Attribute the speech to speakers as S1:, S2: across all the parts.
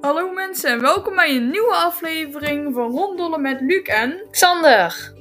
S1: Hallo mensen en welkom bij een nieuwe aflevering van Rondollen met Luc en...
S2: Xander.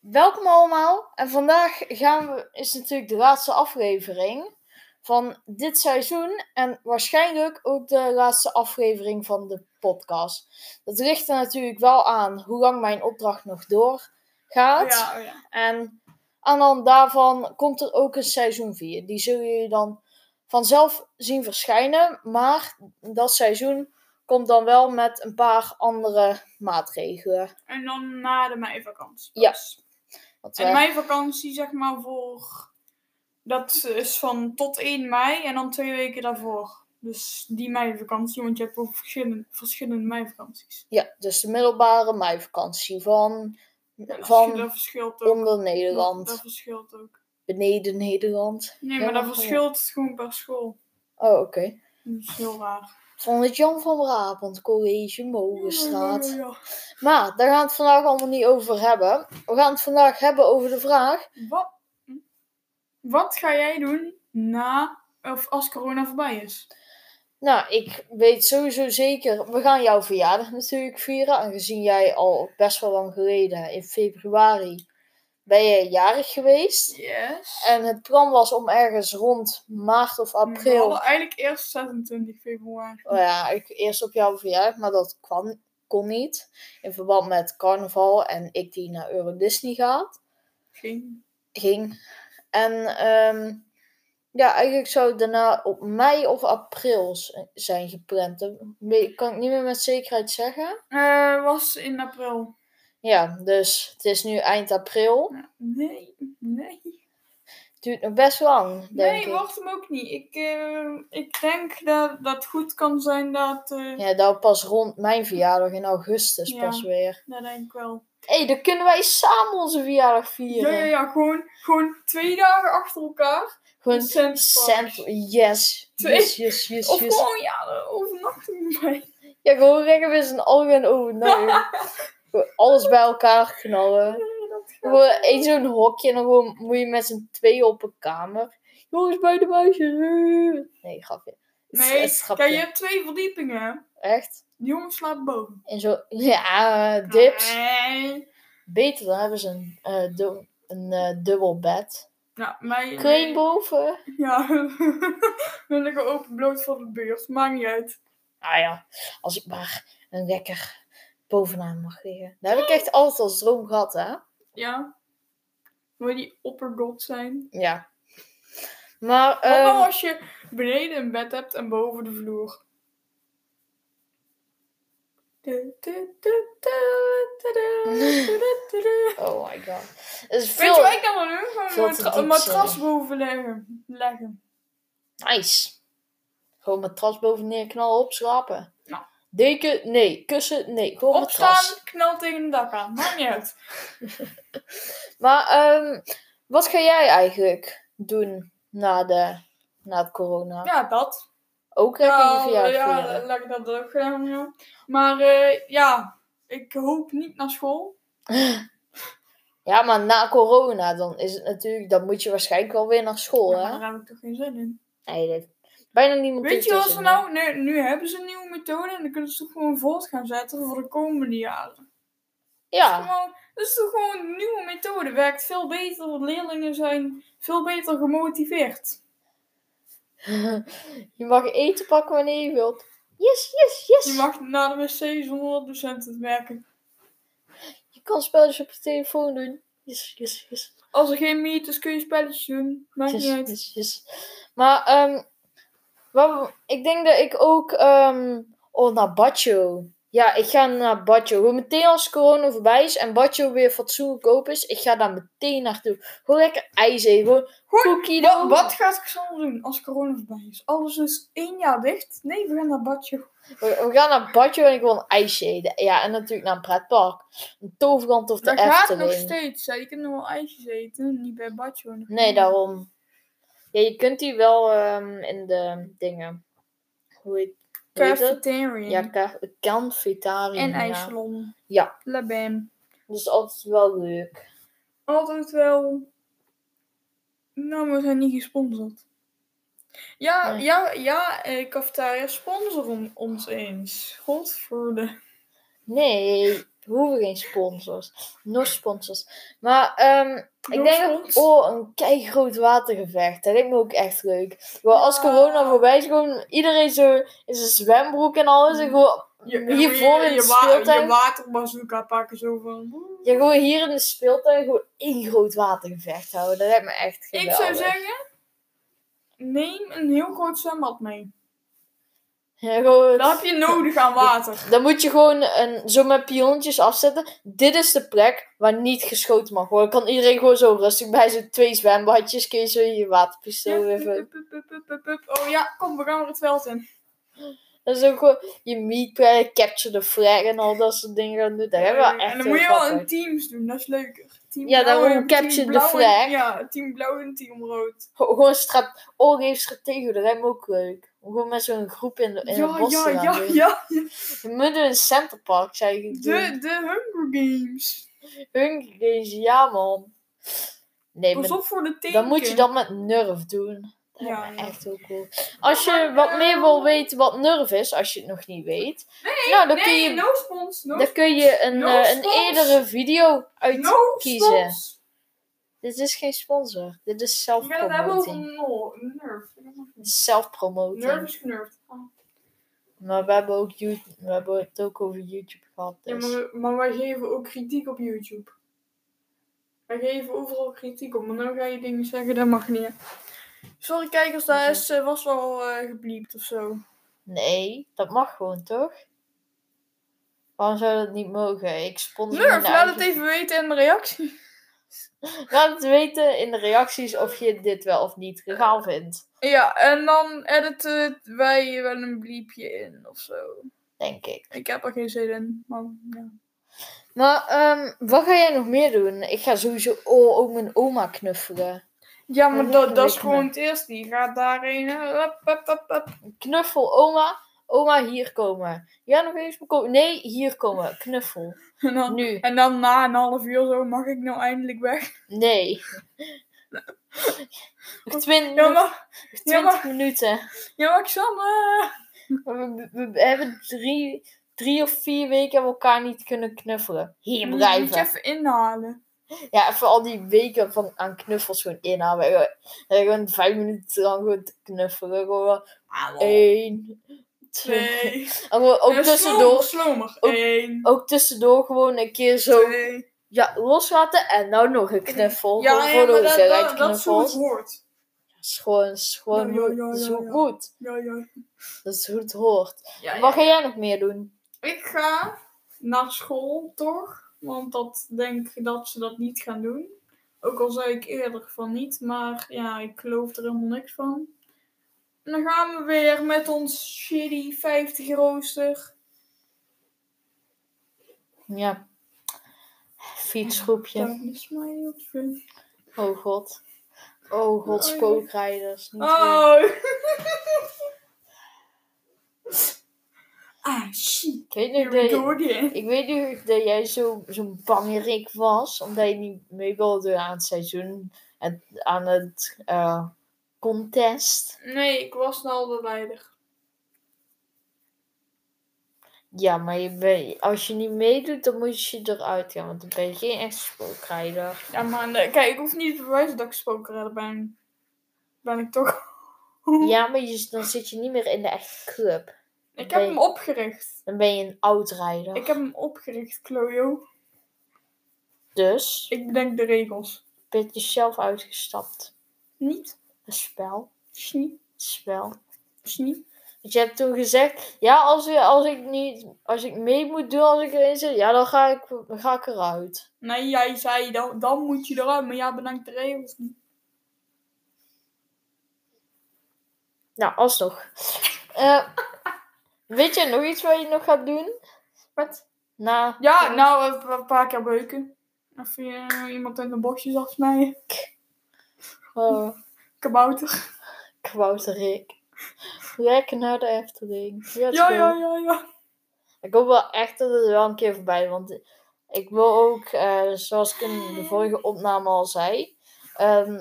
S2: Welkom allemaal. En vandaag gaan we, is natuurlijk de laatste aflevering van dit seizoen. En waarschijnlijk ook de laatste aflevering van de podcast. Dat richt er natuurlijk wel aan hoe lang mijn opdracht nog doorgaat.
S1: oh ja.
S2: En aan de hand daarvan komt er ook een seizoen 4. Die zul je dan vanzelf zien verschijnen. Maar dat seizoen komt dan wel met een paar andere maatregelen.
S1: En dan na de meivakantie.
S2: Ja.
S1: pas.
S2: Want,
S1: En
S2: eh,
S1: meivakantie zeg maar voor... Dat is van tot 1 mei en dan twee weken daarvoor. Dus die meivakantie, want je hebt ook verschillende, verschillende meivakanties.
S2: Ja, dus de middelbare meivakantie van,
S1: Ja, dat verschil-
S2: van
S1: Dus dat verschilt ook.
S2: onder
S1: Dat, dat
S2: Nederland,
S1: verschilt ook.
S2: beneden Nederland.
S1: Nee,
S2: Ja,
S1: maar dat
S2: maar-
S1: verschilt gewoon per school.
S2: Oh, oké.
S1: Dat is heel raar.
S2: Van het Jan van Brabant College Molenstraat.
S1: Ja, ja,
S2: Maar daar gaan we het vandaag allemaal niet over hebben. We gaan het vandaag hebben over de vraag
S1: ja. Wat, wat ga jij doen na of als corona voorbij is?
S2: Nou, ik weet sowieso zeker. We gaan jouw verjaardag natuurlijk vieren. Aangezien jij al best wel lang geleden, in februari, ben je jarig geweest.
S1: Yes.
S2: En het plan was om ergens rond maart of
S1: We
S2: april.
S1: hadden Nou, eigenlijk eerst 26 februari.
S2: Nou ja, ik, eerst op jouw verjaardag, maar dat kwam, kon niet. In verband met carnaval en ik die naar Euro Disney gaat,
S1: Geen.
S2: ging. En ehm, ja, eigenlijk zou het daarna op mei of april s- zijn gepland. Dat weet- kan ik niet meer met zekerheid zeggen.
S1: Eh, was in april.
S2: Ja, dus het is nu eind april.
S1: Ja, Nee, nee.
S2: Duurt nog best lang, denk
S1: Nee,
S2: ik.
S1: wordt hem ook niet. Ik, eh, ik denk dat dat goed kan zijn dat. eh,
S2: Ja, dat pas rond mijn verjaardag in augustus
S1: Ja.
S2: pas weer.
S1: Dat denk ik wel.
S2: Hé, hey, dan kunnen wij samen onze verjaardag
S1: Ja,
S2: vieren.
S1: ja, ja. Gewoon, gewoon twee dagen achter elkaar.
S2: Gewoon
S1: Cent-
S2: cent- Yes.
S1: Twee.
S2: Yes, yes, yes,
S1: Of
S2: yes.
S1: gewoon ja, overnachten bij.
S2: Ja, gewoon rekken we zijn algemeen overnight. Gewoon alles bij elkaar knallen. Gewoon één zo'n hokje en dan gewoon moet je met z'n tweeën op een kamer. Jongens, bij de muisjes. Nee, grapje. Het is- het
S1: Nee,
S2: is grapje.
S1: kijk, je hebt twee verdiepingen.
S2: Echt?
S1: Die jongen slaapt boven.
S2: En zo... Ja, dips.
S1: Nee.
S2: Beter, dan hebben ze een, eh, dub- een eh, dubbel bed.
S1: Ja, nou, mijn.
S2: Kun je boven?
S1: Ja, dan liggen we openbloot voor de buurt. Maakt niet uit.
S2: Nou ja, als ik maar een lekker bovenaan mag liggen. Dat heb ik echt altijd als droom gehad, hè?
S1: Ja. Wil je die oppergod zijn?
S2: Ja. Maar,
S1: Wat nou
S2: ehm
S1: als je beneden een bed hebt en boven de vloer? Weet
S2: oh my god. Het is
S1: je
S2: veel...
S1: wat ik dan wil doen? Gewoon
S2: veel
S1: een
S2: te
S1: matra-
S2: diep,
S1: een matras
S2: sorry.
S1: boven leggen. leggen.
S2: Nice. Gewoon matras boven neerknallen, opschrapen.
S1: Nou.
S2: Deken, nee. Kussen, nee. Gewoon matras.
S1: Opstaan, knal tegen het dak aan. Maakt niet uit.
S2: Maar, ehm, wat ga jij eigenlijk doen na, de, na het corona?
S1: Ja, dat.
S2: Ook heb je je verjaardag
S1: Nou, ja,
S2: vieren?
S1: laat ik dat ook gedaan ja. Maar eh, ja, ik hoop niet naar school.
S2: Ja, maar na corona, dan is het natuurlijk, dan moet je waarschijnlijk wel weer naar school,
S1: Maar
S2: hè?
S1: daar heb ik toch geen zin in.
S2: Nee, dat heeft bijna niemand
S1: Weet je
S2: heeft
S1: wat
S2: er
S1: ze
S2: zin
S1: nou... Nu, nu hebben ze een nieuwe methode en dan kunnen ze toch gewoon voort gaan zetten voor de komende jaren.
S2: in. Ja,
S1: Gewoon, dat is toch gewoon een nieuwe methode. Werkt veel beter, leerlingen zijn veel beter gemotiveerd.
S2: je mag eten pakken wanneer je wilt. Yes, yes, yes.
S1: Je mag naar de wc zonder dat docenten het merken.
S2: Je kan spelletjes op je telefoon doen. Yes, yes, yes.
S1: Als er geen meet is, kun je spelletjes doen. Maakt
S2: Yes,
S1: niet uit.
S2: yes, yes. Maar, ehm, wat- ik denk dat ik ook, ehm, oh, naar Baggio. Ja, ik ga naar Baggio. Gewoon meteen als corona voorbij is en Baggio weer fatsoenlijk open is, ik ga daar meteen naartoe. Gewoon lekker ijs eten, gewoon
S1: Goed,
S2: cookie
S1: wat,
S2: dough.
S1: wat gaat Xander doen als corona voorbij is? Alles is één jaar dicht. Nee, we gaan naar Badje.
S2: We, we gaan naar Badje en ik wil een ijsje eten. Ja, en natuurlijk naar een pretpark. Een toverland of de
S1: Dat gaat nog
S2: Efteling.
S1: steeds. Hè? Je kunt nog wel ijsjes eten, niet bij Badje.
S2: nee, daarom. Ja, je kunt die wel ehm, in de dingen. Hoe heet, hoe heet het?
S1: Cafeteria.
S2: Ja, ka- cafetaria.
S1: en
S2: ijsje.
S1: ijssalon.
S2: Ja.
S1: Labem.
S2: Dat is altijd wel leuk.
S1: Altijd wel... Nou, we zijn niet gesponsord. Ja,
S2: Nee.
S1: ja, ja, eh, cafetaria sponsor on- ons eens. Godverde.
S2: Nee, we hoeven geen sponsors. Nog sponsors. Maar ehm, ik
S1: Nog
S2: denk,
S1: spons?
S2: oh, een kei groot watergevecht. Dat lijkt me ook echt leuk. Wel, als
S1: Ja.
S2: corona voorbij is, gewoon iedereen zo in zijn zwembroek en alles. En gewoon, Hiervoor in
S1: je,
S2: de
S1: wa- je
S2: speeltuin?
S1: waterbazooka pakken zo van.
S2: ja, gewoon hier in de speeltuin gewoon één groot watergevecht houden. Dat lijkt me echt
S1: Ik
S2: geweldig.
S1: zou zeggen, neem een heel groot zwembad mee.
S2: Ja, gewoon,
S1: Dat heb je nodig aan water.
S2: Dan moet je gewoon een, zo met piontjes afzetten. Dit is de plek waar niet geschoten mag worden. Kan iedereen gewoon zo rustig bij zijn twee zwembadjes. Kun je zo je waterpistool
S1: Ja,
S2: even...
S1: pup, pup, pup, pup, pup, pup. Oh ja, kom, we gaan weer het veld in.
S2: Dat is ook gewoon je meat prep, capture the flag en al dat soort dingen gaan doen. Daar hebben we echt
S1: en dan
S2: heel
S1: moet je wel
S2: grappig.
S1: in teams doen, dat is leuker. Team
S2: Ja, dan
S1: blauw
S2: moet je
S1: en
S2: capture
S1: team
S2: the
S1: blauw en-
S2: flag.
S1: Ja, team blauw en team rood.
S2: Go- Gewoon strat... Oh, geef stratego, dat lijkt me ook leuk. Om gewoon met zo'n groep in, de, in het
S1: ja,
S2: bos
S1: ja,
S2: te gaan
S1: ja,
S2: doen.
S1: ja.
S2: We moeten een centerpark, zou ik doen.
S1: De, de Hunger Games.
S2: Hun deze, ja man. Nee,
S1: Pas
S2: maar
S1: op voor de teken.
S2: dan moet je dat met Nerf doen. Dat
S1: Ja,
S2: lijkt me
S1: ja. eh,
S2: echt heel cool. Als je wat meer wil weten wat Nerf is, als je het nog niet weet. nou, dan kun
S1: Nee,
S2: je,
S1: no spons. No,
S2: dan kun je een,
S1: no
S2: eh, een
S1: spons.
S2: eerdere video uit...
S1: no
S2: kiezen.
S1: spons.
S2: Dit is geen sponsor. Dit is
S1: We gaan het hebben over
S2: zelfpromoting.
S1: no, Nerf. Nerf
S2: Zelfpromoting.
S1: is knurft. Ah.
S2: Maar we hebben, ook YouTube, we hebben het ook over YouTube gehad.
S1: Ja,
S2: Dus.
S1: maar, we- maar wij geven ook kritiek op YouTube. Wij geven overal kritiek op, maar nou ga je dingen zeggen, dat mag niet. Sorry kijkers, daar is, eh, was wel eh gebliept of zo.
S2: Nee, dat mag gewoon toch? Waarom zou dat niet mogen? Ik sponsor
S1: Nerf,
S2: mijn
S1: laat het
S2: eigen-
S1: even weten in de reactie.
S2: Laat het weten in de reacties of je dit wel of niet legaal vindt.
S1: Ja, en dan editen wij wel een bliepje in of zo.
S2: Denk ik.
S1: Ik heb er geen zin in, maar ja.
S2: Maar ehm, wat ga jij nog meer doen? Ik ga sowieso oh, ook mijn oma knuffelen.
S1: Ja, maar
S2: Ja,
S1: dat, dat is
S2: weet
S1: gewoon het eerste. Die gaat daarheen. eh, hup, hup, hup, hup.
S2: Knuffel oma. Oma, hier komen. Ja, nog eens komen. Nee, hier komen. Knuffel.
S1: En dan,
S2: Nu.
S1: en dan na een half uur zo, mag ik nou eindelijk weg?
S2: Nee. Nog 20,
S1: Ja, maar, ja, maar-
S2: minuten.
S1: ja, maar Xander.
S2: We, we- we hebben drie, drie of vier weken hebben we elkaar niet kunnen knuffelen. Hier
S1: Moet- Moet je
S2: blijven.
S1: even inhalen.
S2: Ja, even al die weken van, aan knuffels gewoon inhalen. Gewoon- Gewoon vijf minuten lang gewoon te knuffelen.
S1: Oh.
S2: Gewoon één, twee.
S1: twee.
S2: En gewoon ook
S1: Eh, slomer,
S2: tussendoor.
S1: Slomer.
S2: Ook-
S1: Eén.
S2: Ook tussendoor gewoon een keer zo
S1: Twee.
S2: ja, loslaten en nou nog een knuffel.
S1: Ja,
S2: gewoon
S1: ja,
S2: voor de
S1: maar dat,
S2: hoeveelheid
S1: dat, dat is hoe het
S2: knuffels.
S1: hoort.
S2: Dat is gewoon, is gewoon
S1: Ja, ja,
S2: hoe-
S1: ja,
S2: dat is
S1: ja,
S2: hoe het
S1: ja.
S2: moet.
S1: Ja, ja.
S2: Dat is hoe het hoort.
S1: ja, ja.
S2: Wat ga jij nog meer doen?
S1: Ik ga naar school, toch? Want dat denk ik dat ze dat niet gaan doen. Ook al zei ik eerder van niet, maar ja, ik geloof er helemaal niks van. En dan gaan we weer met ons shitty 50 rooster.
S2: Ja. Fietsgroepje.
S1: Darkness, my old friend.
S2: Oh god. Oh god,
S1: Oh, ja.
S2: spookrijders. Niet leuk.
S1: Oh! ah, shit.
S2: Ik weet
S1: Here
S2: nu
S1: we
S2: dat,
S1: go
S2: je-
S1: again.
S2: ik weet nu dat jij zo- zo'n bangerik was. Omdat je niet mee wilde aan het seizoen. En aan het eh, contest.
S1: Nee, ik was nou de leider.
S2: Ja, maar je ben, als je niet meedoet, dan moet je eruit gaan. Want dan ben je geen echt spookrijder.
S1: Ja, maar nee, kijk, ik hoef niet te bewijzen dat ik spookredder ben. Ben ik toch?
S2: Ja, maar je, dan zit je niet meer in de echte club.
S1: Ik heb
S2: Nee.
S1: hem opgericht.
S2: Dan ben je een oudrijder.
S1: Ik heb hem opgericht, Klojo.
S2: Dus
S1: Ik bedenk de regels.
S2: ben je zelf uitgestapt.
S1: Niet?
S2: Een spel.
S1: Snie?
S2: Een spel.
S1: Snie?
S2: Want je hebt toen gezegd, ja, als, we- als ik niet, als ik mee moet doen, als ik erin zit, ja, dan ga ik, dan ga ik eruit.
S1: Nee, jij zei dan, dan moet je eruit, maar jij bedenkt de regels niet.
S2: Nou, alsnog. Eh, weet je nog iets wat je nog gaat doen?
S1: Wat?
S2: Na, eh,
S1: Ja, nou, even een paar keer beuken. Even eh, iemand in de boxjes afsnijden. nou-
S2: eh,
S1: Kabouter.
S2: Kwouterik. Lekker naar de Efteling. Let's
S1: Ja,
S2: go.
S1: ja, ja, ja.
S2: Ik hoop wel echt dat het wel een keer voorbij is, Want ik wil ook, eh, zoals ik in de vorige opname al zei, ehm,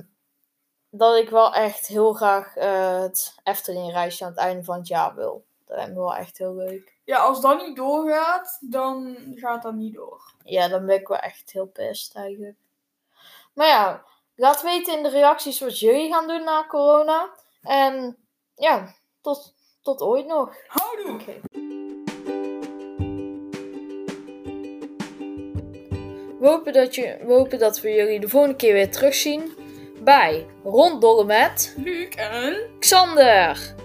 S2: dat ik wel echt heel graag eh, het Efteling-reisje aan het einde van het jaar wil. Dat lijkt me wel echt heel leuk.
S1: Ja, als dat niet doorgaat, dan gaat dat niet door.
S2: Ja, dan ben ik wel echt heel pest eigenlijk. Maar ja, laat weten in de reacties wat jullie gaan doen na corona. En ja, tot, tot ooit nog.
S1: Houdoe!
S2: Oké. We hopen, dat je, we hopen dat we jullie de volgende keer weer terugzien bij Ronddollen met
S1: Luc en...
S2: Xander.